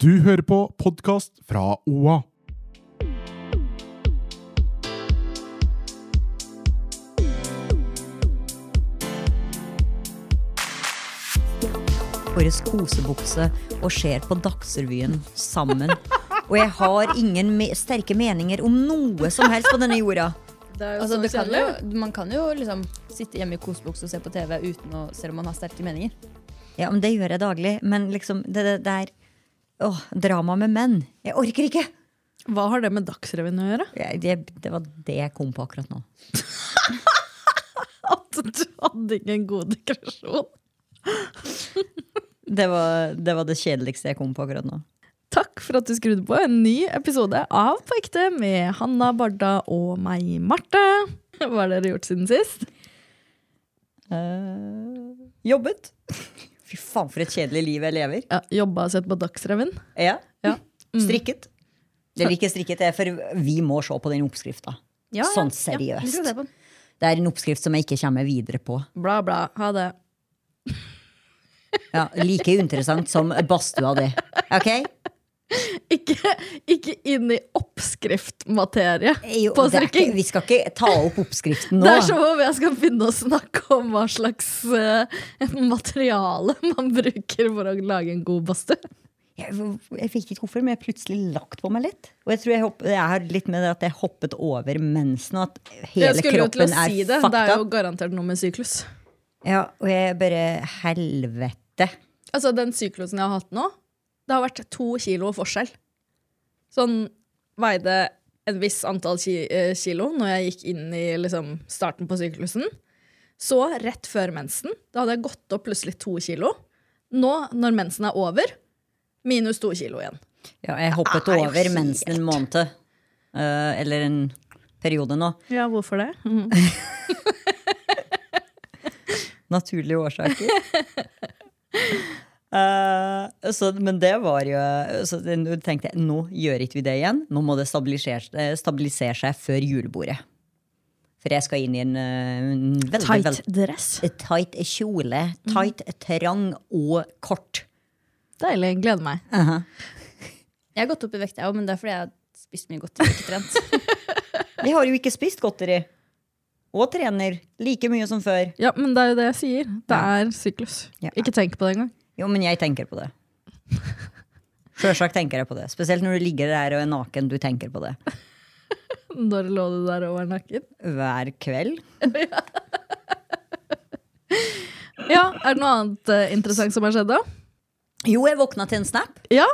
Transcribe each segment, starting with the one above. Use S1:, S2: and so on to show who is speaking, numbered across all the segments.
S1: Du hører på podkast fra OA.
S2: vår kosebukse og ser på Dagsrevyen sammen. Og jeg har ingen me sterke meninger om noe som helst på denne jorda.
S3: Altså, du kan jo, man kan jo liksom sitte hjemme i kosebukse og se på TV uten å selv om man har sterke meninger.
S2: Ja, men Det gjør jeg daglig. Men liksom, det, det, det er Åh, drama med menn. Jeg orker ikke!
S4: Hva har det med Dagsrevyen å gjøre?
S2: Jeg, det, det var det jeg kom på akkurat nå.
S4: At du hadde ingen god digresjon.
S2: Det var, det var det kjedeligste jeg kom på akkurat nå.
S4: Takk for at du skrudde på en ny episode av På ekte med Hanna Barda og meg, Marte. Hva har dere gjort siden sist?
S2: Jobbet! Fy faen, for et kjedelig liv jeg lever.
S4: Ja, Jobba og sett på Dagsrevyen.
S2: Ja. Mm.
S4: Ja.
S2: Strikket. Det er ikke strikket, det er for vi må se på den oppskrifta.
S4: Ja, ja.
S2: Sånn
S3: Ja, vi
S2: seriøst.
S3: skal se på den.
S2: Det er en oppskrift som jeg ikke kommer videre på.
S4: Bla, bla. Ha det.
S2: Ja, like interessant som badstua di. Ok?
S4: Ikke, ikke inn i oppskriftmaterie
S2: Jo,
S4: på
S2: det er ikke,
S4: strikking.
S2: vi skal ikke ta opp oppskriften nå.
S4: Det er som om jeg skal begynne å snakke om hva slags eh, materiale man bruker for å lage en god badstue.
S2: jeg, jeg fikk ikke hvorfor, men jeg har plutselig lagt på meg litt. Og jeg tror jeg, hopp, jeg har litt med det at jeg hoppet over mensen, og at hele
S4: Jeg skulle jo til å
S2: kroppen er
S4: si det. Det
S2: fucked
S4: er jo
S2: up.
S4: garantert noe med syklus.
S2: Ja, og jeg bare Helvete.
S4: Altså, den syklusen jeg har hatt nå, det har vært to kilo forskjell. Sånn veide en viss antall ki eh, kilo når jeg gikk inn i liksom, starten på syklusen. Så rett før mensen, da hadde jeg gått opp plutselig to kilo. Nå, når mensen er over, minus to kilo igjen.
S2: Ja, jeg hoppet
S4: Det er jo
S2: over mensen en måned. eh, eller en periode nå.
S4: Ja, hvorfor det?
S2: Naturlige årsaker. Eh, så, men det var jo så det- Nå tenkte jeg nå gjør ikke vi det igjen. Nå må det stabilisere, eh, stabilisere seg før julebordet. For jeg skal inn i en, eh, en veldig,
S4: Tight
S2: veldig
S4: dress.
S2: tight kjole. Tight, eh, trang og kort.
S4: Deilig. Gleder meg.
S3: Jeg har gått opp i vekt, jeg òg, men det er fordi jeg har spist mye godt og ikke trent.
S2: Jeg har jo ikke spist godteri. Og trener like mye som før.
S4: Ja, men det er jo det jeg sier. Det er syklus.
S2: Ja.
S4: Ikke tenk på det engang.
S2: Jo, men jeg tenker på det. Sjølsagt tenker jeg på det. Spesielt når du ligger der og er naken. Du tenker på det
S4: Når lå du der og var naken?
S2: hver kveld.
S4: Ja, Er det noe annet eh, interessant som har skjedd, da?
S2: Jo, jeg våkna til en snap.
S4: Ja!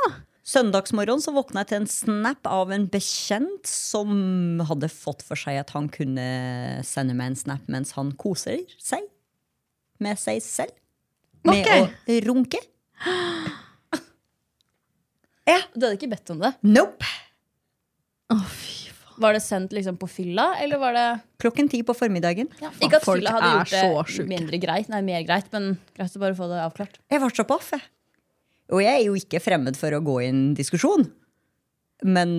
S2: Søndagsmorgen så våkna jeg til en snap av en bekjent som hadde fått for seg at han kunne sende meg en snap mens han koser seg med seg selv. Med
S4: Ok.
S2: å runke.
S3: Du hadde ikke bedt om det.
S2: Nope!
S4: Å, fy faen.
S3: Var det sendt liksom på fylla, eller var det
S2: Klokken ti på formiddagen.
S3: Ikke at
S4: folk
S3: fylla
S4: er
S3: hadde
S4: så
S3: gjort det
S4: sjuke.
S3: mindre greit, nei, mer greit, men greit å bare få det avklart.
S2: Jeg ble så paff, jeg. Og jeg er jo ikke fremmed for å gå i en diskusjon. Men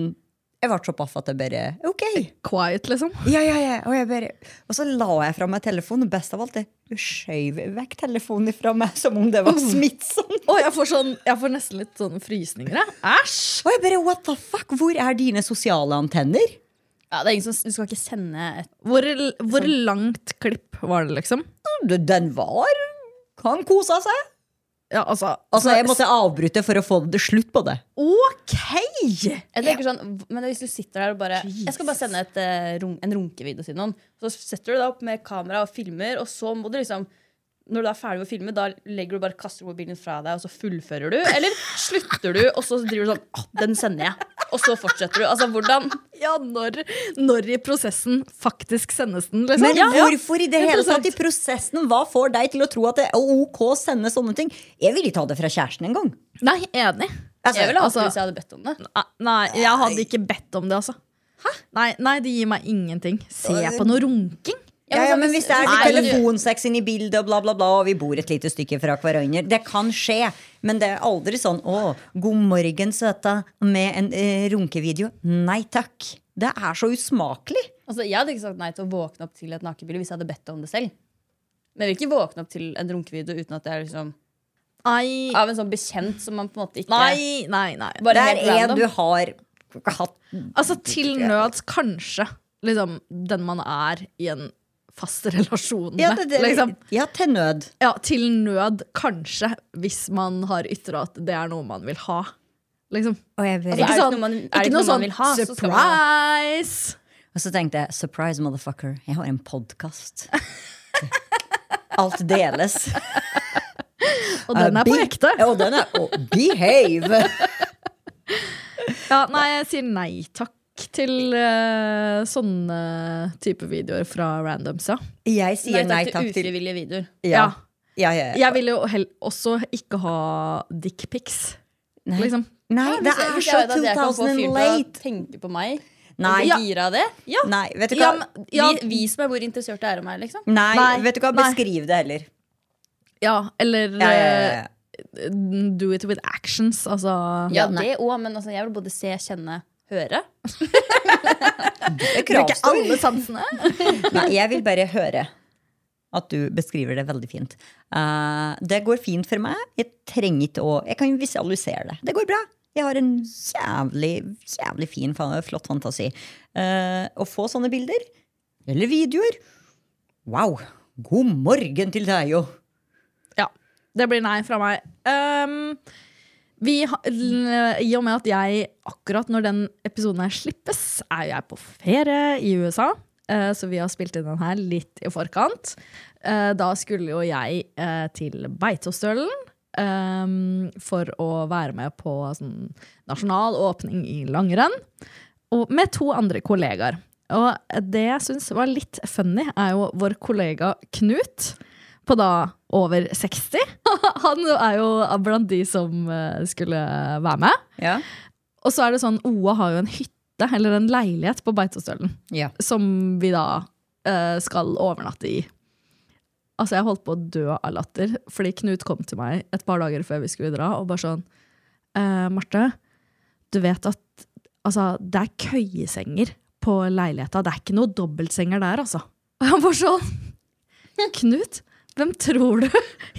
S2: jeg ble så paff at jeg bare Ok!
S4: Quiet, liksom.
S2: Ja, ja, ja. Og, jeg bare, og så la jeg fra meg telefonen. Best av alt, jeg skjøv vekk telefonen fra meg som om det var smittsomt.
S4: Å, jeg, får sånn, jeg får nesten litt sånne frysninger, jeg. Æsj!
S2: Og jeg bare, what the fuck, Hvor er dine sosiale antenner?
S3: Ja, det er ingen som, du skal ikke sende et
S4: Hvor, hvor langt klipp var det, liksom?
S2: Du, Den var Han kosa seg.
S4: Ja, altså,
S2: Altså, Jeg måtte avbryte for å få det slutt på det.
S4: Ok!
S3: Jeg tenker sånn, men Hvis du sitter der og bare Jeg skal bare sende et, eh, run, en runkevideo til noen. Så setter du deg opp med kamera og filmer, og så må du liksom når du er ferdig med å filme, da legger du bare kaster du mobilen fra deg og så fullfører du. Eller slutter du, og så driver du sånn «Å, Den sender jeg. Og så fortsetter du. Altså, hvordan
S4: Ja, når, når i prosessen faktisk sendes den, liksom?
S2: Men
S4: ja,
S2: hvorfor i det hele tatt
S4: 100%.
S2: i prosessen? Hva får deg til å tro at det er ok å sende sånne ting? Jeg vil ikke ha det fra kjæresten engang.
S4: Nei, enig.
S2: Altså,
S3: Jeg ville hatt
S4: altså-
S3: det hvis jeg hadde bedt om det.
S4: Ah, Nei, jeg hadde ikke bedt om det, altså. Nei, nei, det gir meg ingenting. Se på noe runking.
S2: ja,
S3: altså,
S2: ja, men hvis det er litt
S4: Nei, men du-
S2: telefonsex inni bildet, og bla, bla, bla, og vi bor et lite stykke fra hverandre Det kan skje, men det er aldri sånn 'Å, god morgen, søta', med en eh, runkevideo. Nei takk. Det er så usmakelig.
S3: Altså, jeg hadde ikke sagt nei til å våkne opp til et nakenbilde hvis jeg hadde bedt om det selv. Men jeg vil ikke våkne opp til en runkevideo uten at det er liksom
S4: Nei,
S3: av en sånn bekjent som man på en måte ikke
S4: nei, nei. nei.
S3: Bare
S2: Det er
S3: helt
S2: en
S3: random.
S2: du har hatt
S4: Altså til nøds kanskje liksom, den man er i en fast relasjon med.
S2: Ja, det, det,
S4: liksom.
S2: ja til nød.
S4: ja, til nød kanskje, hvis man har ytra at det er noe man vil ha. Liksom.
S2: Og, jeg
S3: Altså,
S2: bare,
S3: er det ikke noe man, er det ikke noe man vil ha, så skal man
S4: sånn surprise!
S2: og så tenkte jeg 'surprise, motherfucker', jeg har en podkast. Alt deles.
S4: Og den er på
S2: Be-
S4: ekte.
S2: Ja, Og den er og behave.
S4: Ja, nei, jeg sier nei takk til eh, sånne type videoer fra randoms, ja.
S2: Jeg sier nei takk til
S3: ufrivillige videoer.
S2: ja.
S4: Ja.
S2: Ja, ja, ja.
S4: Jeg vil jo hell også ikke ha dickpics.
S2: Nei.
S4: Liksom.
S2: Nei, det
S3: Hvis jeg-
S2: er
S3: hvis
S2: så
S3: jeg vet at jeg kan få
S2: 2000
S3: fyren
S2: and
S3: til å
S2: late.
S3: tenke på meg,
S2: Nei.
S3: og bli gira av det Ja,
S2: Nei, vet du hva?
S4: Ja, men, ja,
S3: Vi, vi som er hvor interessert det er om meg, liksom.
S2: Nei,
S4: Nei.
S2: vet du hva?
S4: Nei.
S2: Beskriv det heller.
S4: ja, eller
S2: Ja, ja, ja, ja.
S4: eh, do it with actions. Altså
S3: Ja, det òg, men altså, jeg vil både se, kjenne, høre.
S2: Det er
S4: Bruke
S2: kravstor.
S4: alle sansene.
S2: Nei, jeg vil bare høre at du beskriver det veldig fint. Eh, det går fint for meg. Jeg trenger ikke å Jeg kan visualisere det. Det går bra. Jeg har en jævlig, jævlig fin, fa- flott fantasi. Eh, å få sånne bilder, eller videoer Wow! God morgen til deg, jo!
S4: Ja, det blir nei fra meg. Ehm, vi, ha- l- I og med at jeg akkurat når den episoden her slippes, er jeg på ferie i USA. eh, Så vi har spilt inn den her litt i forkant. Eh, Da skulle jo jeg eh, til Beitostølen ehm, for å være med på sånn nasjonal åpning i langrenn. Og med to andre kollegaer. Og det jeg syns var litt funny, er jo vår kollega Knut på da over 60. Han er jo blant de som eh, skulle være med.
S2: Ja.
S4: Og så er det sånn, Oa har jo en hytte, eller en leilighet på Beitostølen,
S2: Ja.
S4: som vi da eh, skal overnatte i. Altså, jeg holdt på å dø av latter, fordi Knut kom til meg et par dager før vi skulle dra, og bare sånn, eh, Marte, du vet at altså, det er køyesenger på leiligheta, det er ikke noe dobbeltsenger der, altså. Og jeg bare sånn, Knut, hvem tror du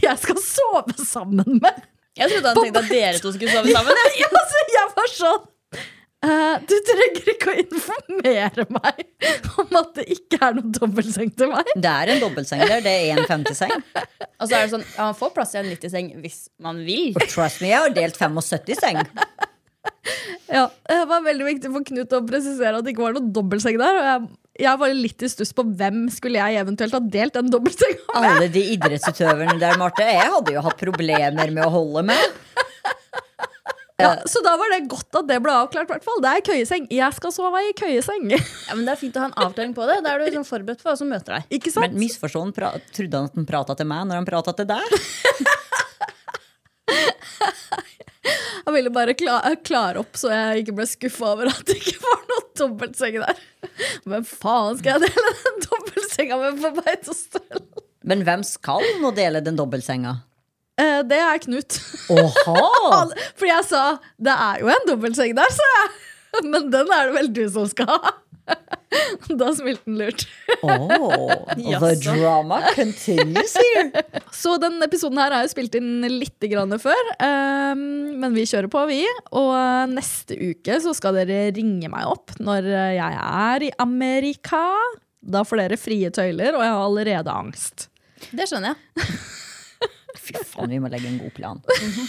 S4: jeg skal sove sammen med?
S3: Jeg trodde han tenkte at dere to skulle sove sammen.
S4: Ja, altså, jeg var sånn «Eh, Du trenger ikke å informere meg om at det ikke er noen dobbeltseng til meg.
S2: Det er en dobbeltseng der. Det er en femteseng.
S3: Og så er det sånn, ja, man får plass i en 90-seng hvis man vil.
S2: Trust me, jeg har delt 75-seng.
S4: Ja, eh, Det var veldig viktig for Knut å presisere at det ikke var noen dobbeltseng der. Og jeg, jeg var litt i stuss på hvem skulle jeg eventuelt ha delt den dobbeltsenga med.
S2: Alle de idrettsutøverne der, Marte. Jeg hadde jo hatt problemer med å holde med.
S4: Ja, så da var det godt at det ble avklart. Hvertfall. Det er køyeseng. Jeg skal sove i køyeseng.
S3: Ja, men Det er fint å ha en avklaring på det. Da er du liksom forberedt for hva som møter deg.
S4: Ikke sant?
S2: Men misforstå han, pra- trodde han at han prata til meg når han prata til deg?
S4: Jeg ville bare kla klare opp så jeg ikke ble skuffa over at det ikke var noen dobbeltseng der. Hvem faen skal jeg dele den dobbeltsenga med på Beitostølen?
S2: Men hvem skal nå dele den dobbeltsenga?
S4: Eh, det er Knut.
S2: Åha!
S4: Alle- Fordi jeg sa 'det er jo en dobbeltseng der', sa jeg. Men den er det vel du som skal ha. Da smilte han lurt.
S2: Oh, the
S3: Jaså.
S2: drama continues here.
S4: Så den episoden her er jo spilt inn litt grann før, eh, men vi kjører på, vi. Og neste uke så skal dere ringe meg opp når jeg er i Amerika. Da får dere frie tøyler, og jeg har allerede angst.
S3: Det skjønner jeg.
S2: Fy faen, vi må legge en god plan.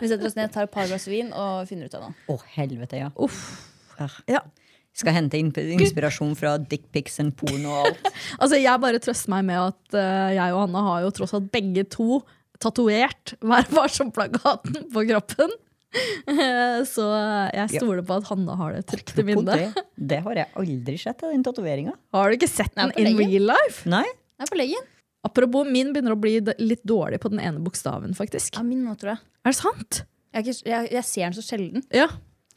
S3: Vi setter oss ned, tar et par glass vin og finner ut av noe.
S2: Å, helvete, ja.
S4: Uff.
S2: Ja.
S4: Ja.
S2: Skal hente inn- inspirasjon fra dickpics og porno og alt.
S4: Altså, jeg bare trøster meg med at eh, jeg og Hanna har jo tross alt begge to tatovert hver varsom-plakaten på kroppen. Eh, Så jeg
S2: Ja.
S4: stoler på at Hanna har det trygt i
S2: Apropos
S4: minne.
S2: Det, det har jeg aldri sett, den tatoveringa.
S4: Har du ikke sett
S3: Nei,
S4: den
S3: på
S4: in
S3: leggen.
S4: real life?
S2: Nei?
S3: Nei, på leggen.
S4: Apropos, min begynner å bli d- litt dårlig på den ene bokstaven, faktisk.
S3: Ja, min nå, tror jeg.
S4: Er det sant?
S3: Jeg, er ikke, jeg, jeg ser den så sjelden.
S4: Ja.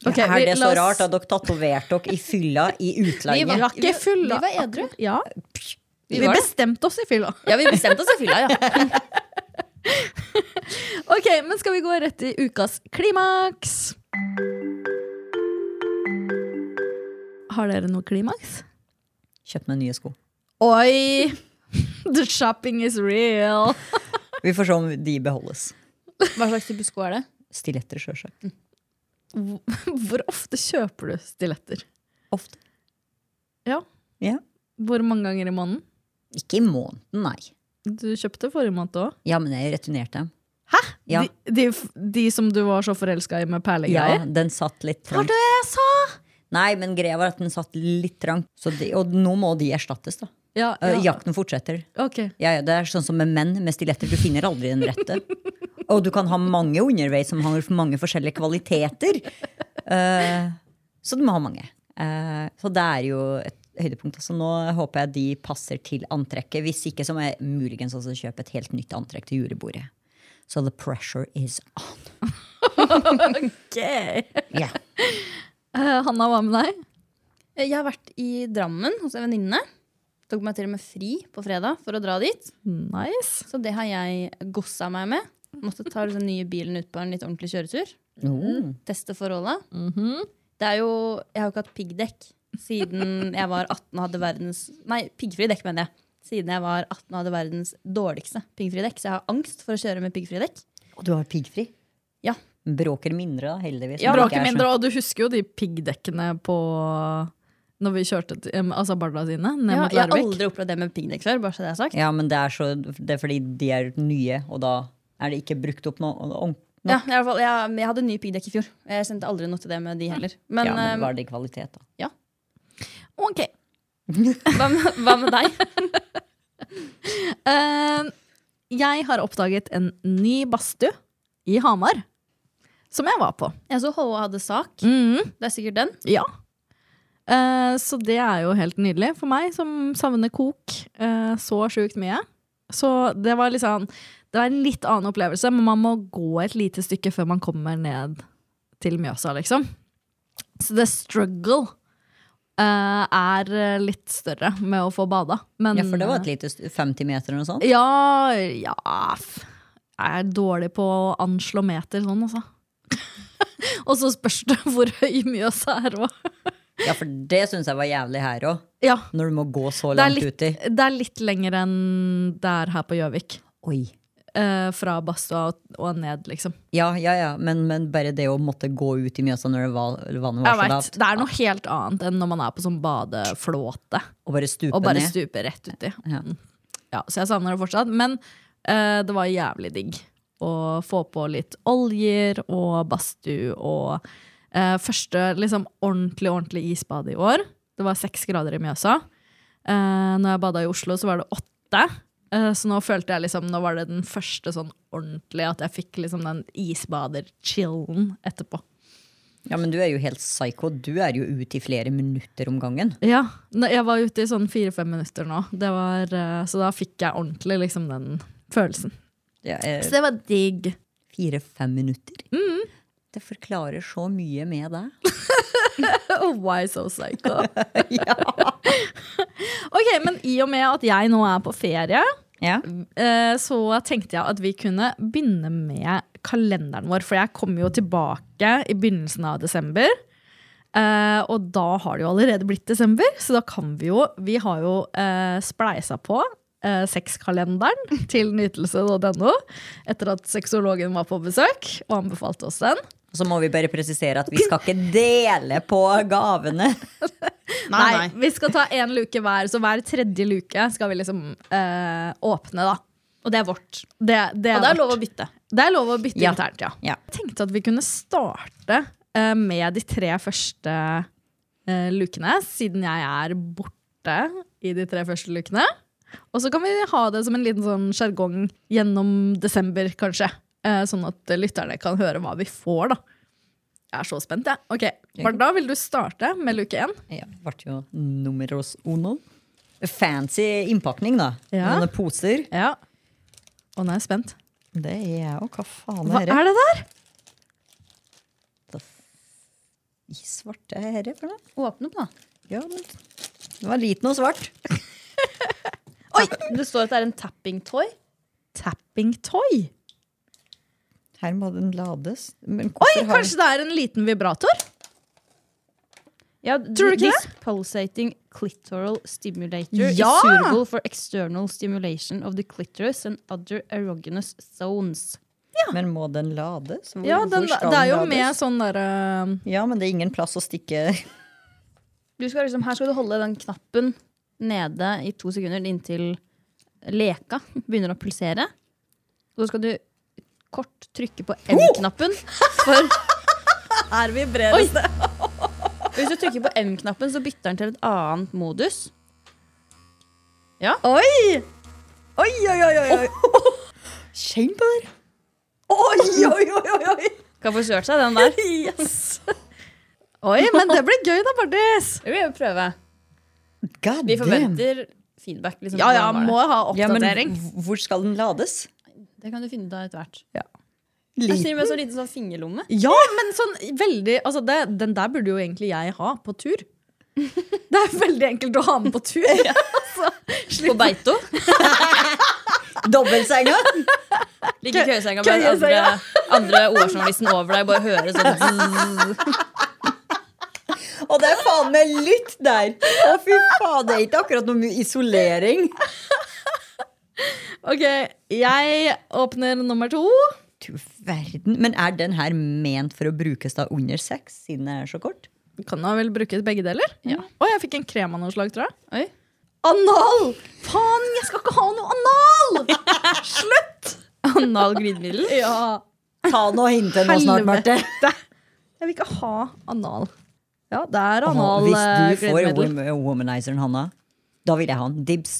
S4: Ok,
S2: er
S4: vi-
S2: det så
S4: la oss-
S2: rart at dere tatoverte dere i fylla i
S4: Vi
S2: utlandet?
S4: var ikke fulla.
S3: vi var edru.
S4: Ja. Vi,
S3: Vi var det.
S4: bestemte oss i fylla.
S3: Ja, vi bestemte oss i fylla, ja.
S4: Ok, men skal vi gå rett i ukas klimaks? Har dere noe klimaks?
S2: Kjøpt meg nye sko.
S4: Oi! The shopping is real.
S2: Vi får se om de beholdes.
S3: Hva slags type sko er det?
S2: Stiletter, sjølsagt.
S4: Hvor ofte kjøper du stiletter?
S2: Ofte.
S4: Ja.
S2: Ja.
S4: Hvor mange ganger i måneden?
S2: Ikke i måneden, nei.
S4: Du kjøpte forrige måned òg.
S2: Ja, men jeg returnerte dem. Hæ? Ja,
S4: De, de, f- de som du var så forelska i med
S2: ja
S4: perlegreier?
S2: den satt litt
S4: Var
S2: trangt.
S4: det jeg sa?
S2: Nei, men greia var at den satt litt trangt. Så de, og nå må de erstattes, da.
S4: Ja,
S2: Eh,
S4: ja.
S2: Jakten fortsetter.
S4: Ok.
S2: Ja, ja, det er sånn som med menn med stiletter. Du finner aldri den rette. Og du kan ha mange underveis som har mange forskjellige kvaliteter. Eh, så du må ha mange. Eh, så det er jo et høydepunkt. Så nå håper jeg de passer til antrekket. Hvis ikke så må jeg muligens også kjøpe et helt nytt antrekk til julebordet. Så the pressure is on. Yeah.
S4: Eh, Hanna, hva med deg?
S3: Eh, Jeg har vært i Drammen hos en venninne. Tok meg til og med fri på fredag for å dra dit.
S4: Nice.
S3: Så det har jeg gossa meg med. Måtte ta den nye bilen ut på en litt ordentlig kjøretur.
S2: Oh.
S3: Teste forholda. Det er jo, jeg har jo ikke hatt piggdekk siden jeg var 18 og hadde verdens Nei, piggfri dekk, mener jeg. Siden jeg var 18 og hadde verdens dårligste piggfri dekk. Så jeg har angst for å kjøre med piggfri dekk.
S2: Og du har piggfri?
S3: Ja.
S2: Bråker mindre, da, heldigvis. Det
S3: Ja,
S2: ikke
S4: Bråker
S2: er så-
S4: mindre, og du husker jo de piggdekkene på Når vi kjørte til, em, altså Barda sine ned
S3: Ja,
S4: mot
S3: jeg har
S4: Larvik.
S3: aldri opplevd det med piggdekk før. bare så det er sagt.
S2: Ja, men det er, så, det er fordi de er nye, og da er det ikke brukt opp noe. og-
S3: Ja, i alle fall, jeg, jeg hadde ny piggdekk i fjor. Jeg sendte aldri noe til det med de heller. Men,
S2: ja, men
S3: eh,
S2: var det i kvalitet, da?
S4: Ok.
S3: hva, med, hva med deg?
S4: Eh, jeg har oppdaget en ny badstue i Hamar, som jeg var på.
S3: Jeg så HA hadde sak. Det er sikkert den.
S4: Ja. Eh, så det er jo helt nydelig for meg, som savner kok eh, så sjukt mye. Så det var liksom Det var en litt annen opplevelse, men man må gå et lite stykke før man kommer ned til Mjøsa, liksom. Så the struggle eh, er litt større med å få bada. Men eh,
S2: Ja, for det var et lite st- 50 meter eller noe sånt.
S4: Ja, ja f- Jeg er dårlig på å anslå meter sånn, altså. og så spørs det hvor høy Mjøsa er òg.
S2: Ja, for det syns jeg var jævlig her òg.
S4: Ja,
S2: Når du må gå så
S4: det er,
S2: langt
S4: litt,
S2: uti.
S4: det er litt lenger enn det er her på Gjøvik.
S2: Oi.
S4: Eh, fra badstua og, og ned, liksom.
S2: Ja, ja, ja, men, men bare det å måtte gå ut i Mjøsa når det var, vannet
S4: Jeg
S2: var så
S4: vet,
S2: lavt,
S4: Det er noe helt annet enn når man er på sånn badeflåte
S2: og bare stupe
S4: og bare
S2: ned
S4: stuper rett uti.
S2: Ja.
S4: Ja, så jeg savner det fortsatt. Men eh, det var jævlig digg å få på litt oljer og badstue og eh, første liksom ordentlig, ordentlig isbad i år. Det var seks grader i Mjøsa. Uh, når jeg bada i Oslo, så var det åtte. Eh, så nå følte jeg liksom, nå var det den første sånn ordentlig at jeg fikk liksom den isbader-chillen etterpå.
S2: Ja, men du er jo helt psycho. Du er jo ute i flere minutter om gangen.
S4: Ja, ne- jeg var ute i sånn fire-fem minutter nå. Det var, eh, så da fikk jeg ordentlig liksom den følelsen.
S2: Det er
S4: Så Mm. det var digg.
S2: Fire-fem minutter. Det forklarer så mye med deg.
S4: Oh, why so psycho? ok, men i og med at jeg nå er på ferie,
S2: Ja.
S4: eh, så tenkte jeg at vi kunne begynne med kalenderen vår. For jeg kommer jo tilbake i begynnelsen av desember. eh, og da har det jo allerede blitt desember, så da kan vi jo Vi har jo eh, spleisa på eh, sexkalenderen til nytelse.no etter at sexologen var på besøk og anbefalte oss den.
S2: Og så må vi bare presisere at vi skal ikke dele på gavene.
S4: Nei, vi skal ta én luke hver, så hver tredje luke skal vi liksom eh, åpne, da.
S3: Og det er vårt.
S4: Det, det,
S3: Og det er
S4: vårt.
S3: lov å bytte.
S4: det er lov å bytte
S2: Ja.
S4: internt, ja.
S2: Ja.
S4: Jeg tenkte at vi kunne starte eh, med de tre første eh, lukene, siden jeg er borte i de tre første lukene. Og så kan vi ha det som en liten sånn sjargong gjennom desember, kanskje. Eh, sånn at lytterne kan høre hva vi får, da. Jeg er så spent, jeg. Ok, Barda, vil du starte med luke én?
S2: Ja, det ble jo numeros uno. Fancy innpakning, da.
S4: Ja.
S2: Noen poser.
S4: Ja. Å, nå er jeg spent.
S2: Det er jeg òg. Hva faen
S4: Hva er det der?
S2: the f... I svarte er dette for noe?
S3: Åpne opp, da.
S2: Ja, men det var liten og svart.
S3: Oi! Det står at det er en tapping toy.
S4: Tapping toy?
S2: Her må den lades.
S4: Oi,
S2: Men hvorfor har-
S4: kanskje det er en liten vibrator?
S3: Ja,
S4: Tror du ikke
S3: this Pulsating clitoral stimulator
S4: Ja!
S3: is suitable for external stimulation of the clitoris and other erogenous zones.
S2: Men må den lades? Hvor,
S4: Ja, den,
S2: hvor skal
S4: det er jo
S2: den
S4: med
S2: lades?
S4: sånn derre
S2: Ja, men det er ingen plass å stikke
S3: Du skal liksom, her skal du holde den knappen nede i to sekunder inntil leka begynner å pulsere. Og så skal du kort trykke på M-knappen. For
S4: Her vibreres det.
S3: hvis du trykker på M-knappen, så bytter den til et annet modus.
S2: Oi! Oi, oi, oi, oi, oi. Kjenn på det. Oi, oi, oi, oi, oi.
S3: Kan få kjørt seg den der.
S4: Oi, men det blir gøy da, Bardis.
S3: Det vil jeg prøve.
S2: God
S3: Vi
S2: damn.
S3: forventer feedback. Liksom,
S4: Ja, ja,
S3: hvordan
S4: må
S3: var det.
S4: ha
S2: Ja, men
S4: oppdatering.
S2: h- hvor skal den lades?
S3: det kan du finne ut av etter hvert. Jeg sier
S2: Liten.
S3: med så liten sånn fingerlomme.
S4: Ja, men sånn veldig altså det, Den der burde jo egentlig jeg ha på tur. Det er veldig enkelt å ha med på tur. Så,
S3: På
S4: slipp
S3: Beito.
S2: Dobbeltsenga?
S3: Ligger i køyesenga med den andre, andre ordjournalisten over deg. Bare høre sånn
S2: Og det er faen meg lytt der! Å, fy faen, det er ikke akkurat noe mye isolering.
S4: Ok, jeg åpner nummer to.
S2: Du verden. Men er den her ment for å brukes da under sex, siden den er så kort?
S4: Kan da vel bruke begge deler? Ja. Oi, jeg fikk en krem av noe slag, tror jeg.
S3: Oi.
S4: Anal! Faen, jeg skal ikke ha noe anal!
S3: Anal glidemiddel.
S4: Ja,
S2: Ta nå hintet nå snart, Marte.
S4: helvete. Jeg vil ikke ha anal. Ja, det er
S2: Å,
S4: anal eh,
S2: Hvis du får
S4: glidemiddel.
S2: wom- womanizeren, Hanna, da vil jeg ha en dibs.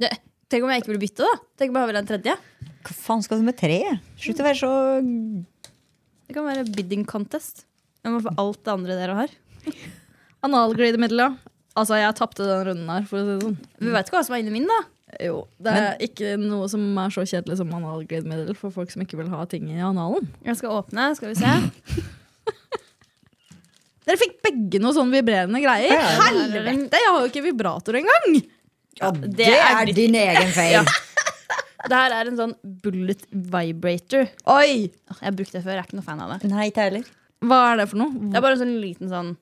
S3: Det, tenk om jeg ikke vil bytte, da. Tenk om jeg vil ha en tredje.
S2: Hva faen skal du med tre? Slutt å være så
S3: Det kan være bidding contest. Jeg må få alt det andre dere har.
S4: Anal glidemiddel, ja. Altså, jeg tapte den runden her, for å si det sånn.
S3: Vi veit ikke hva som er inni min, da.
S4: Jo, det er ikke noe som er så kjedelig som anal glidemiddel for folk som ikke vil ha ting i analen.
S3: Jeg skal åpne, skal vi se.
S4: Dere fikk begge noe sånn vibrerende greier. Helvete, jeg har jo ikke vibrator engang!
S2: Ja, det,
S3: er
S2: er, din egen feil.
S3: Det her er en sånn bullet vibrator.
S4: Oi!
S3: Åh, Jeg har brukt det før, jeg er ikke noe fan av det.
S2: Nei, ikke heller.
S4: Hva er det for noe?
S3: Det er bare en sånn liten sånn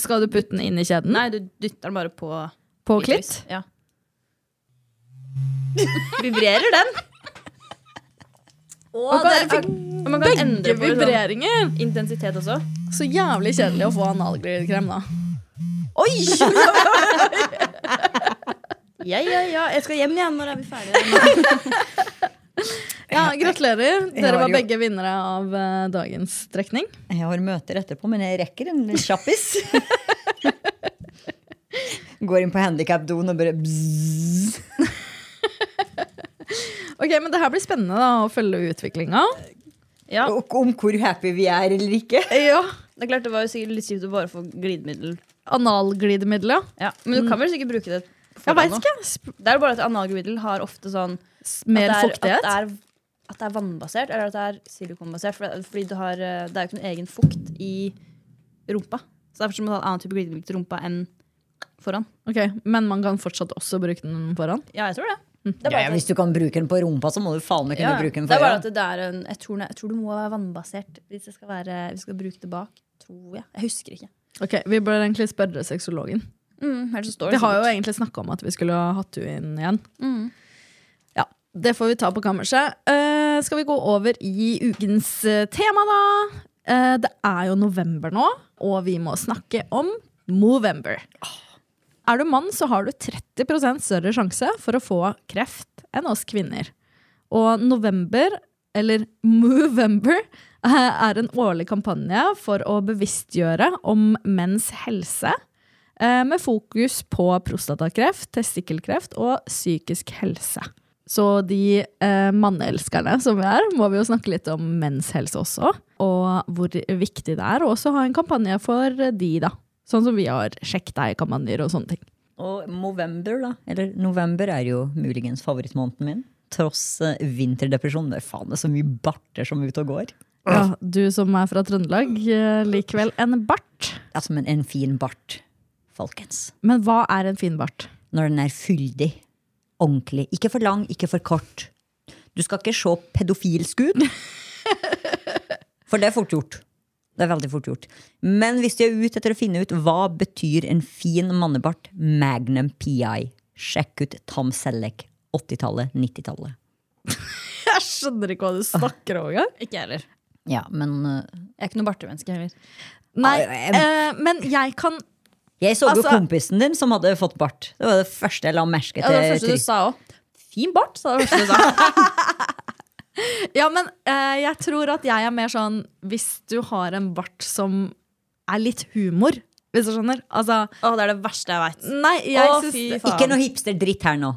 S4: Skal du putte den inn i kjeden?
S3: Nei, du dytter den bare på
S4: På klitt?
S3: klitoris. Ja. Vibrerer den.
S4: Å,
S3: Og
S4: dere
S3: kan,
S4: fikk
S3: og man kan
S4: begge
S3: endre på sånn
S4: vibreringer!
S3: intensitet også.
S4: Så jævlig kjedelig å få analglidekrem, da.
S3: Oi! ja, ja, ja. Jeg skal hjem igjen når er vi ferdige.
S4: Ja, Gratulerer.
S2: har
S4: Dere var
S2: jo-
S4: begge vinnere av eh, dagens trekning.
S2: Jeg har møter etterpå, men jeg rekker en kjappis. Går inn på handikapdoen og bare bzzz.
S4: Ok, men Det her blir spennende da, å følge utviklinga.
S3: Ja,
S2: Og om hvor happy vi er eller ikke.
S4: Ja.
S3: det er klart det var jo sikkert litt kjipt å bare få glidemiddel.
S4: Analglidemiddel, ja.
S3: Ja, Mm. men du kan vel sikkert bruke det.
S4: Jeg
S3: på forhånd
S4: veit
S3: nå.
S4: ikke. Sp-
S3: Det er jo bare at analglidemiddel har ofte sånn
S4: Mer
S3: at det er,
S4: fuktighet.
S3: At det, er, at det er vannbasert, eller at det er silikonbasert. For det, fordi du har, eh, det er jo ikke noen egen fukt i rumpa. Så derfor så må du ha en annen type glidemiddel til rumpa enn foran.
S4: Ok, Men man kan fortsatt også bruke den foran?
S3: Ja, jeg tror det. Det er
S2: Ja,
S3: bare
S2: ja,
S3: at-
S2: hvis du kan bruke den på rumpa, så må du faen meg kunne
S3: Ja, ja.
S2: bruke den
S3: det er bare
S2: foran.
S3: at det er en, jeg, tror, det- jeg tror det må være vannbasert hvis jeg skal, være, hvis jeg skal bruke det bak. Tror jeg. Jeg husker ikke.
S4: Ok, Vi bør egentlig spørre sexologen.
S3: Mm, ellers så står det
S4: Vi har jo
S3: sikkert.
S4: egentlig snakka om at vi skulle ha hatt henne inn igjen.
S3: Mm.
S4: Ja, Det får vi ta på kammerset. Eh, skal vi gå over i ukens eh, tema, da? Eh, det er jo november nå, og vi må snakke om Movember. Er du mann, så har du 30 større sjanse for å få kreft enn oss kvinner. Og november, eller Movember, eh, er en årlig kampanje for å bevisstgjøre om menns helse. eh, Med fokus på prostatakreft, testikkelkreft og psykisk helse. Så de eh, manneelskerne som vi er, må vi jo snakke litt om menns helse også. Og hvor viktig det er å også ha en kampanje for de, da. Sånn som vi har Sjekk deg-kampanjer og sånne ting.
S2: Og november, da. Eller november er jo muligens favorittmåneden min. Tross eh, vinterdepresjon. Det er faen det er så mye barter som er ute og går.
S4: Ja, du som er fra Trøndelag, eh, likevel en bart.
S2: Altså, men en fin bart, folkens.
S4: Men hva er en fin bart?
S2: Når den er fyldig. Ordentlig. Ikke for lang, ikke for kort. Du skal ikke se pedofilsk ut. For det er fort gjort. Det er veldig fort gjort. Men hvis de er ute etter å finne ut hva betyr en fin mannebart, Magnum PI. Sjekk ut Tam Selleck. 80-tallet, 90-tallet.
S4: Jeg skjønner ikke hva du snakker om engang.
S3: Ikke jeg heller.
S2: Ja, men øh,
S3: Jeg er ikke noe bartemenneske heller.
S4: Nei,
S2: Nei,
S4: eh, men jeg kan
S2: Jeg så jo
S4: Altså-
S2: kompisen din som hadde fått bart. Det var det første jeg la merke
S3: Ja, det
S2: til.
S3: var det første
S2: til-
S3: du sa òg. Fin bart, sa det første du sa.
S4: Ja, men eh, jeg tror at jeg er mer sånn Hvis du har en bart som er litt humor, hvis du skjønner. Altså,
S3: Å, det er det verste jeg veit.
S4: nei, jeg
S3: Å,
S4: syns
S3: fy faen.
S2: Ikke noe hipster-dritt her nå.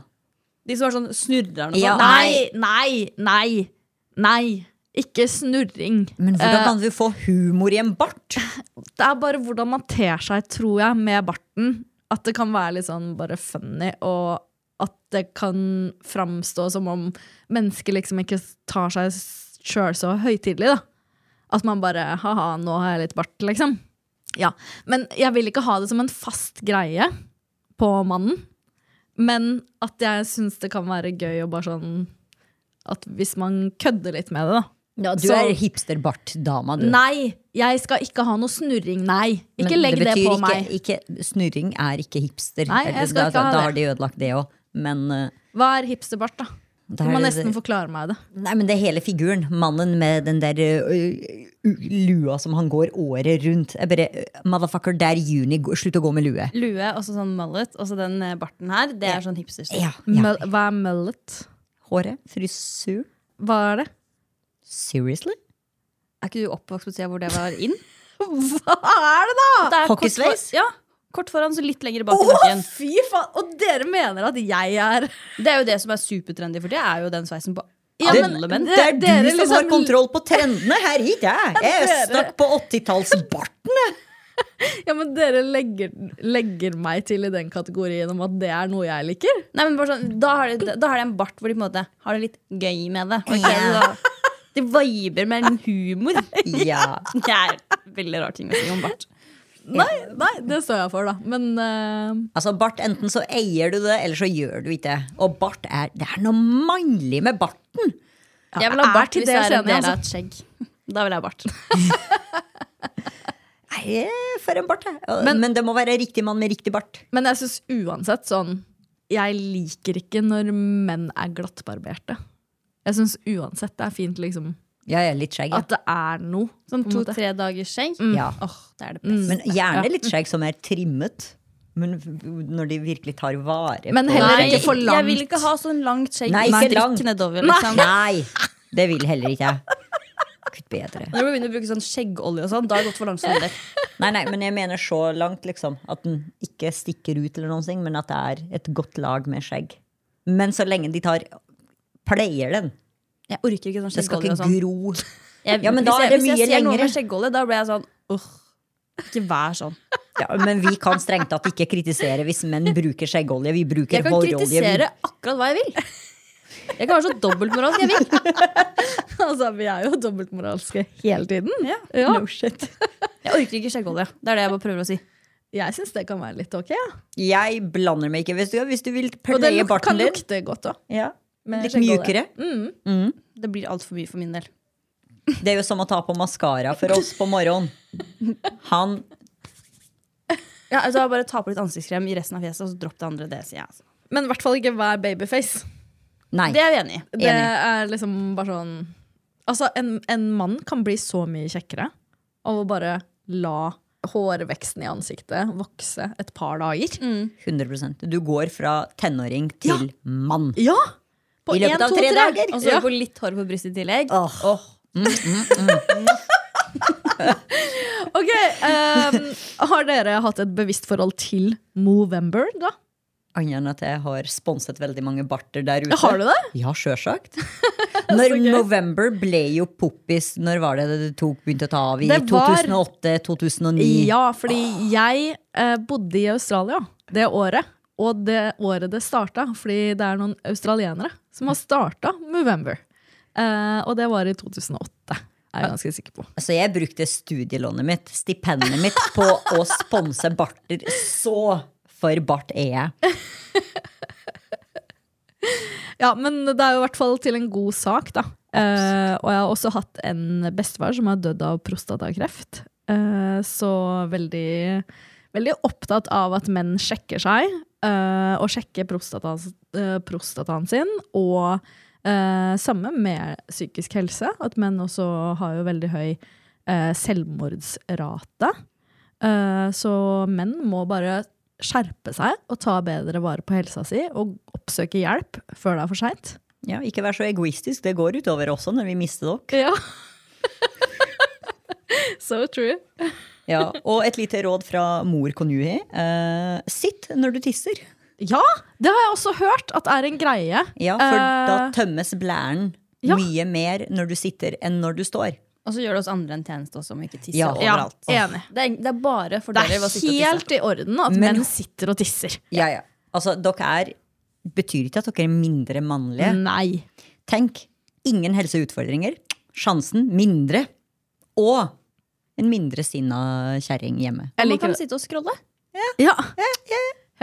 S3: De som har sånn snurrer og
S2: Ja.
S3: sånn.
S4: Nei, nei, nei. Nei. Ikke snurring.
S2: Men hvordan
S4: Eh,
S2: kan du få humor i en bart?
S4: Det er bare hvordan man ter seg, tror jeg, med barten. At det kan være litt sånn bare funny, og at det kan framstå som om mennesker liksom ikke tar seg sjøl så høytidelig, da. At man bare ha-ha, nå har jeg litt bart, liksom. Ja. Men jeg vil ikke ha det som en fast greie på mannen. Men at jeg syns det kan være gøy å bare sånn At hvis man kødder litt med det, da.
S2: du
S4: så-
S2: er hipster-bart-dama, du.
S4: Nei, jeg skal ikke ha noe snurring. Nei,
S2: Men
S4: ikke legg det,
S2: betyr
S4: på
S2: ikke,
S4: meg.
S2: Ikke, snurring er ikke hipster.
S4: Nei, jeg
S2: Eller
S4: skal
S2: da,
S4: ikke ha
S2: da
S4: det.
S2: har de ødelagt det òg. Men, eh,
S4: Hva er hipsterbart, da? Du
S2: da
S4: må
S2: er det-
S4: nesten forklare meg det.
S2: nei, men det er hele figuren. Mannen med den der eh, ø- ø- lua som han går året rundt. Jeg bare, eh, Motherfucker, det er juni. Gå- Slutt å gå med lue.
S3: Lue og så sånn mullet, og så den eh, barten her. Det er sånn hipster.
S2: Ja, ja.
S4: Mul- Hva er mullet?
S2: Håret. Frisyr.
S4: Hva er det?
S2: Seriously?
S3: Er ikke du oppvokst på tida hvor det var inn?
S4: Hva er det, da?!
S3: Det er kort
S2: Hockeysveis?
S3: for- Ja. Kort foran, så litt lenger bak i nakken.
S4: fy faen! Og dere mener at jeg er
S3: Det er jo det som er supertrendy for det, er jo den sveisen på
S4: Ja,
S3: alle
S4: men
S3: menn.
S4: det-
S2: Det er
S4: dere
S2: du som
S4: liksom-
S2: har kontroll på trendene! Her gikk jeg! Jeg stakk på 80-tallsbarten!
S4: Ja, men dere legger, legger meg til i den kategorien om at det er noe jeg liker?
S3: Nei, men bare sånn, da, har de, da har de en bart hvor de på en måte har det litt gøy med det. Og ikke
S2: Ja.
S3: så, de viber med en humor.
S2: Ja.
S3: Det er veldig rar ting å si om bart.
S4: Nei, nei, det står jeg for, da. Men eh,
S2: Altså Bart, enten så eier du det, eller så gjør du ikke det. Og bart er Det er noe mannlig med barten!
S3: Jeg vil ha
S4: er
S3: bart
S4: til
S3: hvis det
S4: dels
S3: er en
S4: enig,
S3: del
S4: altså.
S3: av et skjegg. Da vil jeg ha bart.
S2: Nei, for en bart, jeg. Men, Men det må være riktig mann med riktig bart.
S4: men jeg syns uansett sånn Jeg liker ikke når menn er glattbarberte. Jeg syns uansett det er fint, liksom.
S2: Ja, ja, litt skjegg. Ja.
S4: At det er noe.
S3: Sånn
S4: på en måte.
S3: to-tre dagers skjegg.
S2: Ja.
S3: Mm. Åh, det er det beste.
S2: Men gjerne litt skjegg som er trimmet. Men når de virkelig tar vare
S4: Men
S2: på
S4: heller
S3: Nei,
S4: ikke for langt.
S3: Jeg vil ikke ha sånn langt skjegg.
S2: Nei,
S3: med
S2: ikke
S3: strikk
S2: langt.
S3: Nedover, liksom.
S2: Nei! Det vil heller ikke jeg. Kutt bedre.
S3: Når du begynner å bruke sånn skjeggolje og sånn, da har det gått for langt. Sånn der.
S2: Nei, nei, men jeg mener så langt, liksom. At den ikke stikker ut, eller noen ting, men at det er et godt lag med skjegg. Men så lenge de tar Pleier den.
S3: Jeg orker ikke sånn
S2: Det skal ikke
S3: skjeggolje og sånn.
S2: gro.
S3: Jeg,
S2: Ja, men da
S3: hvis jeg-
S2: er det
S3: Hvis jeg
S2: mye
S3: ser noe
S2: lengre.
S3: med skjeggolje, da blir jeg sånn åh, ikke vær sånn.
S2: Ja, men vi kan strengt tatt ikke kritisere hvis menn bruker skjeggolje. Vi
S3: Jeg
S2: bruker
S3: kan
S2: hårolje.
S3: kritisere akkurat hva jeg vil. Jeg kan være så dobbeltmoralsk jeg vil.
S4: altså, vi er jo dobbeltmoralske hele tiden.
S3: Ja.
S4: Ja.
S3: Jeg orker ikke skjeggolje. Det er det jeg bare prøver å si.
S4: Jeg syns det kan være litt ok. Ja.
S2: Vi, jeg blander meg ikke. Hvis du, hvis du vil
S4: Og det
S2: pleie
S4: luk kan
S2: barten din.
S4: lukte godt òg.
S2: Ja.
S4: med
S2: Litt
S4: skjeggolje.
S2: mjukere.
S3: Det blir altfor mye for min del.
S2: Det er jo som å ta på maskara for oss på morgenen. Han
S3: Ja, altså, bare ta på litt ansiktskrem i resten av fjeset, og så dropp det andre. Det sier jeg. Altså.
S4: Men i hvert fall ikke hver babyface.
S2: Nei.
S3: Det er vi enig i.
S4: Det er liksom bare sånn Altså, en, en mann kan bli så mye kjekkere av å bare la hårveksten i ansiktet vokse et par dager.
S2: 100 Du går fra tenåring til mann.
S4: Ja! På
S2: I løpet
S4: en,
S2: av
S4: to,
S2: tre
S4: tre.
S2: dager.
S3: Og så
S4: Ja.
S3: får du litt hår på brystet i tillegg.
S2: Åh.
S4: Ok, ehm, Har dere hatt et bevisst forhold til Movember, da?
S2: Annet enn at jeg har sponset veldig mange barter der ute.
S4: Har du det?
S2: Ja, sjølsagt. Når
S4: gøy.
S2: November ble jo poppis Når var det det tok, begynte å ta av? I
S4: Det var-
S2: 2008-2009?
S4: Ja, fordi jeg eh, bodde i Australia det året. Og det året det starta, fordi det er noen australienere som har starta Movember. Eh, og det var i 2008. er jeg ganske sikker på.
S2: Altså, jeg brukte studielånet mitt, stipendet mitt, på å sponse barter. Så for bart er jeg.
S4: Ja, men det er jo i hvert fall til en god sak, da. Eh, og jeg har også hatt en bestefar som har dødd av prostatakreft. Eh, så veldig, veldig opptatt av at menn sjekker seg, eh, og sjekker prostataen, eh, prostataen sin. Og eh, samme med psykisk helse, at menn også har jo veldig høy eh, selvmordsrate. Eh, så menn må bare skjerpe seg og ta bedre vare på helsa si og oppsøke hjelp før det er for seint.
S2: Ja, ikke vær så egoistisk. Det går utover også når vi mister dere.
S4: Ja. so true.
S2: Ja, og et lite råd fra mor Konuhi. Eh, sitt når du tisser.
S4: Ja, det har jeg også hørt at er en greie.
S2: Ja, For
S4: Eh,
S2: da tømmes blæren
S4: ja.
S2: mye mer når du sitter enn når du står.
S3: Og så gjør det oss andre en tjeneste også, om vi ikke tisser
S2: Ja.
S4: Eh, ja,
S3: overalt.
S4: enig.
S3: Det, er, det er bare for
S4: Det
S3: dere å
S4: er
S3: sitte og tisse.
S4: helt i orden at
S2: Men-
S4: menn sitter og tisser.
S2: Ja, ja. Altså, dere er Betyr ikke at dere er mindre mannlige.
S4: Nei.
S2: Tenk, ingen helseutfordringer. Sjansen mindre. Og en mindre sinna kjerring hjemme.
S4: Jeg
S3: Man
S4: liker
S3: kan
S4: det.
S3: sitte og scrolle.
S4: Ja.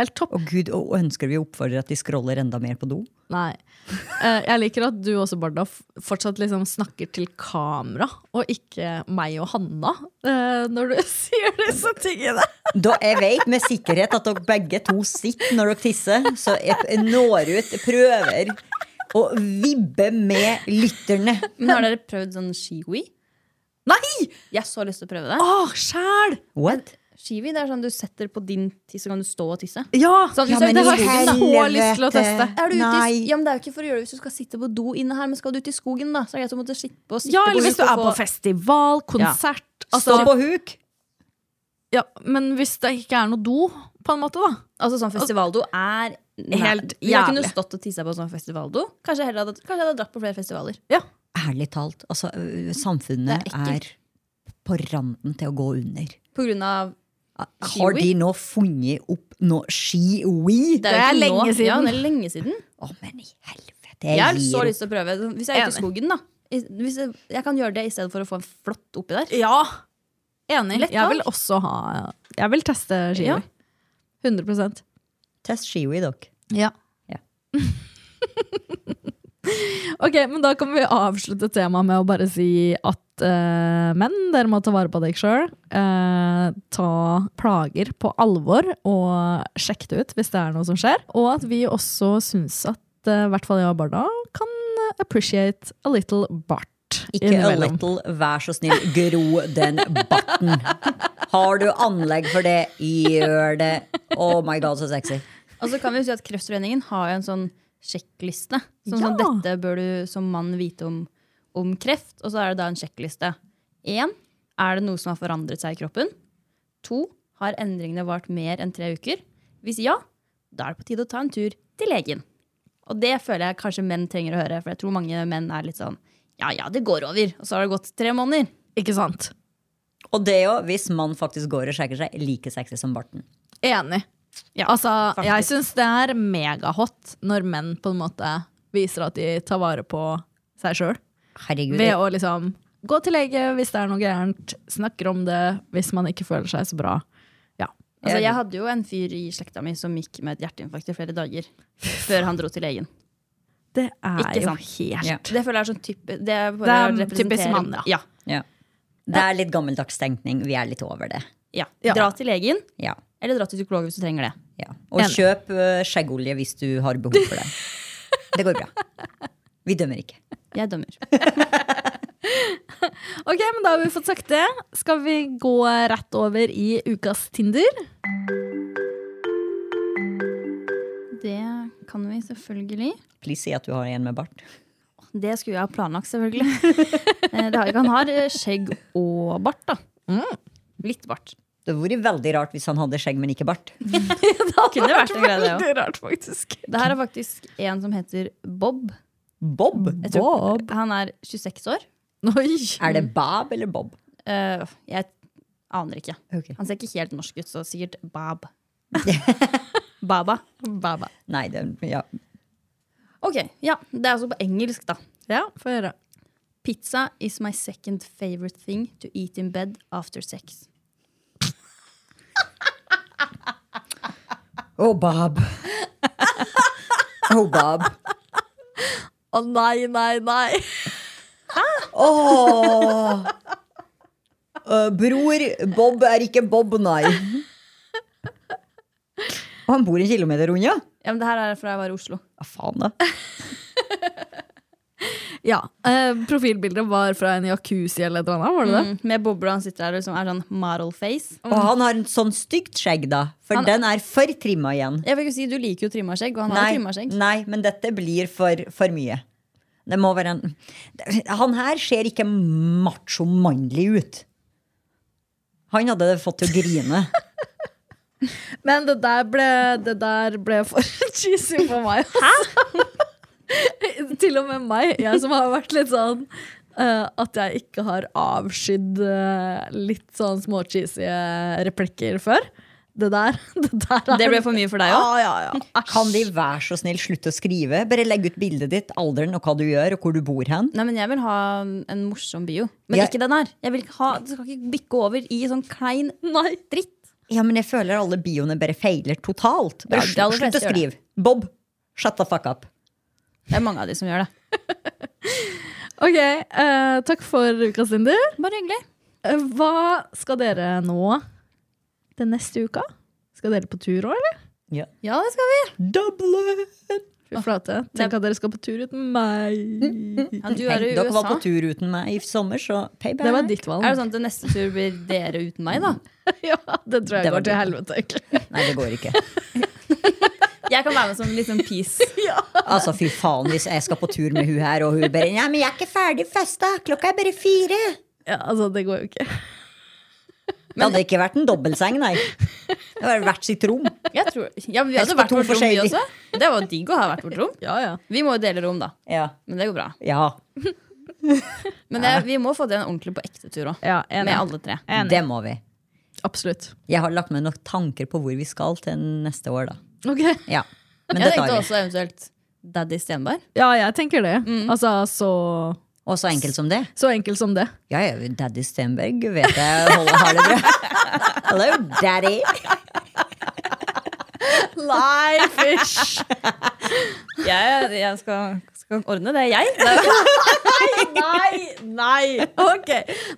S4: Helt topp.
S2: Og gud, og ønsker vi oppfordrer at de scroller enda mer på do?
S4: Nei. Eh, Jeg liker at du også, Barda, f- fortsatt liksom snakker til kamera, og ikke meg og Hanna, eh, når du sier disse tingene.
S2: Da jeg vet med sikkerhet at dere begge to sitter når dere tisser, så jeg når ut, prøver å vibbe med lytterne.
S3: Men har dere prøvd sånn shiwi?
S4: Nei!
S3: Jeg har så lyst til å prøve det.
S4: Åh, sjæl!
S2: What?
S3: Shiwi det er sånn du setter på din tiss, så kan du stå og tisse.
S4: Ja!
S3: Sånn,
S4: ja
S3: så
S4: men
S3: det
S4: det
S3: har
S4: har jeg
S3: jeg
S4: så lyst til å teste.
S3: Er du ute i,
S2: Nei.
S3: ja, men det er jo ikke for å gjøre det hvis du skal sitte på do inne her, men skal du ut i skogen, da? Så er det greit å måtte slippe å sitte
S4: Ja, eller
S3: på
S4: hvis du er på festival, konsert altså,
S2: Stå på huk!
S4: ja, Men hvis det ikke er noe do, på en måte, da.
S3: Altså sånn festivaldo er nei,
S4: Helt
S3: Jeg kunne
S4: jævlig.
S3: stått og tissa på sånn festivaldo. Kanskje, heller hadde, kanskje jeg hadde dratt på flere festivaler.
S2: Ærlig talt, altså, ø, samfunnet
S3: Det er
S2: er,
S3: ekkelt.
S2: på randen til å gå under.
S3: På grunn av
S2: Har de nå funnet opp noe ski-wee?
S3: jo
S4: Det er
S3: ikke
S4: lenge siden.
S3: Ja, det er lenge siden.
S2: Å, men i helvete!
S3: Jeg har
S2: gir
S3: så
S2: opp.
S3: lyst til å prøve. Sånn, Hvis jeg er ute i
S4: Enig.
S3: skogen, da. i- Hvis jeg, jeg kan gjøre det i stedet for å få en flått oppi der.
S4: Ja. Enig.
S3: Lett
S4: Jeg vil
S3: valg.
S4: også ha Jeg vil teste ski.
S3: Ja.
S4: 100
S2: Test ski-wee, dere.
S4: Ja.
S2: Ja.
S4: ok, men da kan vi avslutte temaet med å bare si at eh, menn, dere må ta vare på dere sjøl. ta plager på alvor og sjekk det ut hvis det er noe som skjer. Og at vi også syns at eh, i hvert fall jeg og Barda kan appreciate a little bart.
S2: Ikke a
S4: innimellom.
S2: little, vær så snill, gro den barten. Har du anlegg for det, gjør det. Oh my god, så sexy.
S3: Og så kan vi jo si at Kreftforeningen har jo en sånn sjekkliste. Som
S4: Ja.
S3: sånn, dette bør du som mann vite om, om kreft. Og så er det da en sjekkliste. Én, er det noe som har forandret seg i kroppen? To, har endringene vart mer enn tre uker? Hvis ja, da er det på tide å ta en tur til legen. Og det føler jeg kanskje menn trenger å høre, for jeg tror mange menn er litt sånn ja ja, det går over. Og så har det gått tre måneder.
S4: Ikke sant?
S2: Og det jo, hvis man faktisk går og sjekker seg, like sexy som barten.
S4: Enig. altså, jeg syns det er megahot når menn på en måte viser at de tar vare på seg sjøl.
S2: Herregud.
S4: Ved å liksom gå til lege hvis det er noe gærent, snakker om det hvis man ikke føler seg så bra. Ja.
S3: Altså, jeg hadde jo en fyr i slekta mi som gikk med et hjerteinfarkt i flere dager før han dro til legen.
S4: Det er
S3: Ikke
S4: jo
S3: sant?
S4: helt
S2: Ja.
S3: Det føler jeg er sånn type Det er,
S4: Det er typisk
S3: typisk
S4: mann, ja.
S3: Ja.
S2: Ja. Det er litt gammeldags tenkning. Vi er litt over det.
S3: ja.
S4: Ja.
S3: Dra til legen,
S2: Ja.
S3: eller dra til psykolog hvis du trenger det.
S2: ja. Og
S4: Enig.
S2: kjøp eh, skjeggolje hvis du har behov for det. Det går bra. Vi dømmer ikke.
S3: Jeg dømmer.
S4: Ok, men da har vi fått sagt det. Skal vi gå rett over i ukas Tinder?
S3: Det kan vi selvfølgelig.
S2: Please si at du har en med bart.
S3: Det skulle jeg ha planlagt, selvfølgelig. Eh, det har, han har eh, skjegg og bart, da. Litt bart.
S2: Det hadde vært veldig rart hvis han hadde skjegg, men ikke bart.
S3: Kunne vært en greie, det òg.
S4: Veldig rart, faktisk.
S3: Det her er faktisk en som heter Bob.
S2: Bob?
S3: Jeg tror, han er 26 år.
S4: Oi.
S2: Er det Bab eller Bob?
S3: Eh, jeg aner ikke.
S2: Ok.
S3: Han ser ikke helt norsk ut, så sikkert Bab. Baba. Baba.
S2: Nei, det, ja.
S3: Ok, ja, Det er altså på engelsk, da.
S4: Ja, få høre.
S3: Pizza is my second favorite thing to eat in bed after sex.
S2: Oh, Bob. Oh, Bob.
S4: Å nei, nei, nei.
S2: Åh! Eh, bror Bob er ikke Bob, nei. Og han bor en kilometer unna.
S3: Ja, men Det her er fra jeg var i Oslo.
S2: Ja, faen da.
S4: Ja, eh, Profilbildet var fra en jacuzzi eller et eller annet. var det det?
S3: Mm, med bobler. Han sitter der og liksom er sånn model face.
S2: Og han har en sånn stygt skjegg, da. For den er for trimma igjen.
S3: Jeg vil ikke si Du liker jo trimma skjegg, og han har jo trimma
S2: Nei,
S3: skjegg.
S2: nei, men dette blir for, for mye. Det må være en Han her ser ikke macho-mannlig ut. Han hadde fått til å grine.
S4: Men det der ble, det der ble for cheesy for meg. Hæ? Til og med meg, jeg som har vært litt sånn eh, at jeg ikke har avskydd eh, litt sånn småcheesy eh, replikker før. Det der, det der er-
S3: Det ble for mye for deg òg?
S4: Ja, ja, ja.
S2: Kan de være så snill slutte å skrive? Bare legg ut bildet ditt, alderen og hva du gjør, og hvor du bor hen.
S3: Nei, men jeg vil ha en morsom bio. Men
S2: Jeg-
S3: ikke den her. Jeg vil ikke ha, det skal ikke bikke over i sånn klein
S4: Ah, Nei.
S3: dritt.
S2: Ja, men jeg føler alle bioene bare feiler totalt. Bare
S3: Ja, de aller
S2: sl- slutt å
S3: fleste gjør
S2: skrive. Bob, shut the fuck up.
S3: Det er mange av de som gjør det.
S4: Ok, eh, takk for ukas Lindy.
S3: Bare hyggelig.
S4: Eh, hva skal dere nå den neste uka? Skal dere på tur òg, eller?
S3: Ja, det skal vi.
S2: Dublin!
S4: Fy flate. Tenk at dere skal på tur uten meg.
S3: Ja, du er
S2: Tenk,
S3: i
S2: dere var
S3: USA.
S2: på tur uten meg i sommer, så payback.
S4: Det var ditt valg.
S3: Er det sånn at det neste tur blir dere uten meg, da?
S4: Ja, det tror jeg
S2: Det var
S4: går til helvete, egentlig.
S2: Nei, det går ikke.
S3: Jeg kan være med som sånn en liten piece.
S2: Altså, fy faen, hvis jeg skal på tur med hun her, og hun bare Nei, men jeg er ikke ferdig festa, klokka er bare fire.
S4: Ja, altså, det går jo ikke.
S2: Det hadde ikke vært en dobbeltseng, nei. Det hadde vært sitt rom.
S3: Jeg tror, ja, men vi hadde
S2: Helst på
S3: hvert
S2: to
S3: vårt rom, vi
S2: forskjellige.
S3: også. Det var digg å ha hvert vårt rom.
S4: Ja, ja.
S3: Vi må jo dele rom, da.
S2: Ja.
S3: Men det går bra.
S2: ja.
S3: Men det, vi må få til en ordentlig på ekte tur òg.
S4: ja
S3: Med alle tre.
S2: Det må vi.
S4: Absolutt.
S2: Jeg har lagt meg nok tanker på hvor vi skal til neste år, da.
S4: Ok.
S2: Ja. Men det tar
S3: Jeg tenkte
S2: vi.
S3: også eventuelt Daddy Stenberg.
S4: Ja, jeg tenker det. Altså, så,
S2: Og så enkelt som det.
S4: så enkelt som det.
S2: Ja, ja, Daddy Stenberg vet jeg holder har det bra. Hello, daddy.
S4: Nei, fysj!
S3: Jeg, jeg skal, skal ordne det, jeg. Det er-
S4: Nei, nei! Ok,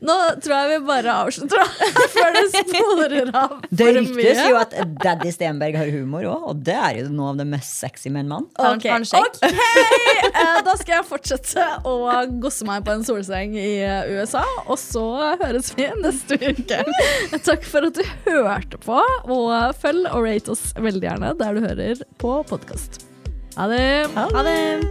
S4: nå tror jeg vi bare avslutter da, før det sporer av
S2: Det
S4: for
S2: ryktes
S4: mye.
S2: jo at Daddy Stenberg har humor òg, og det er jo noe av det mest sexy med en mann.
S4: Ok,
S3: Har han skjegg?
S4: ok, eh, da skal jeg fortsette å gosse meg på en solseng i eh, USA, og så høres vi neste uke. Takk for at du hørte på, og følg og rate oss veldig gjerne der du hører på podkast. Ha det!
S2: Ha det!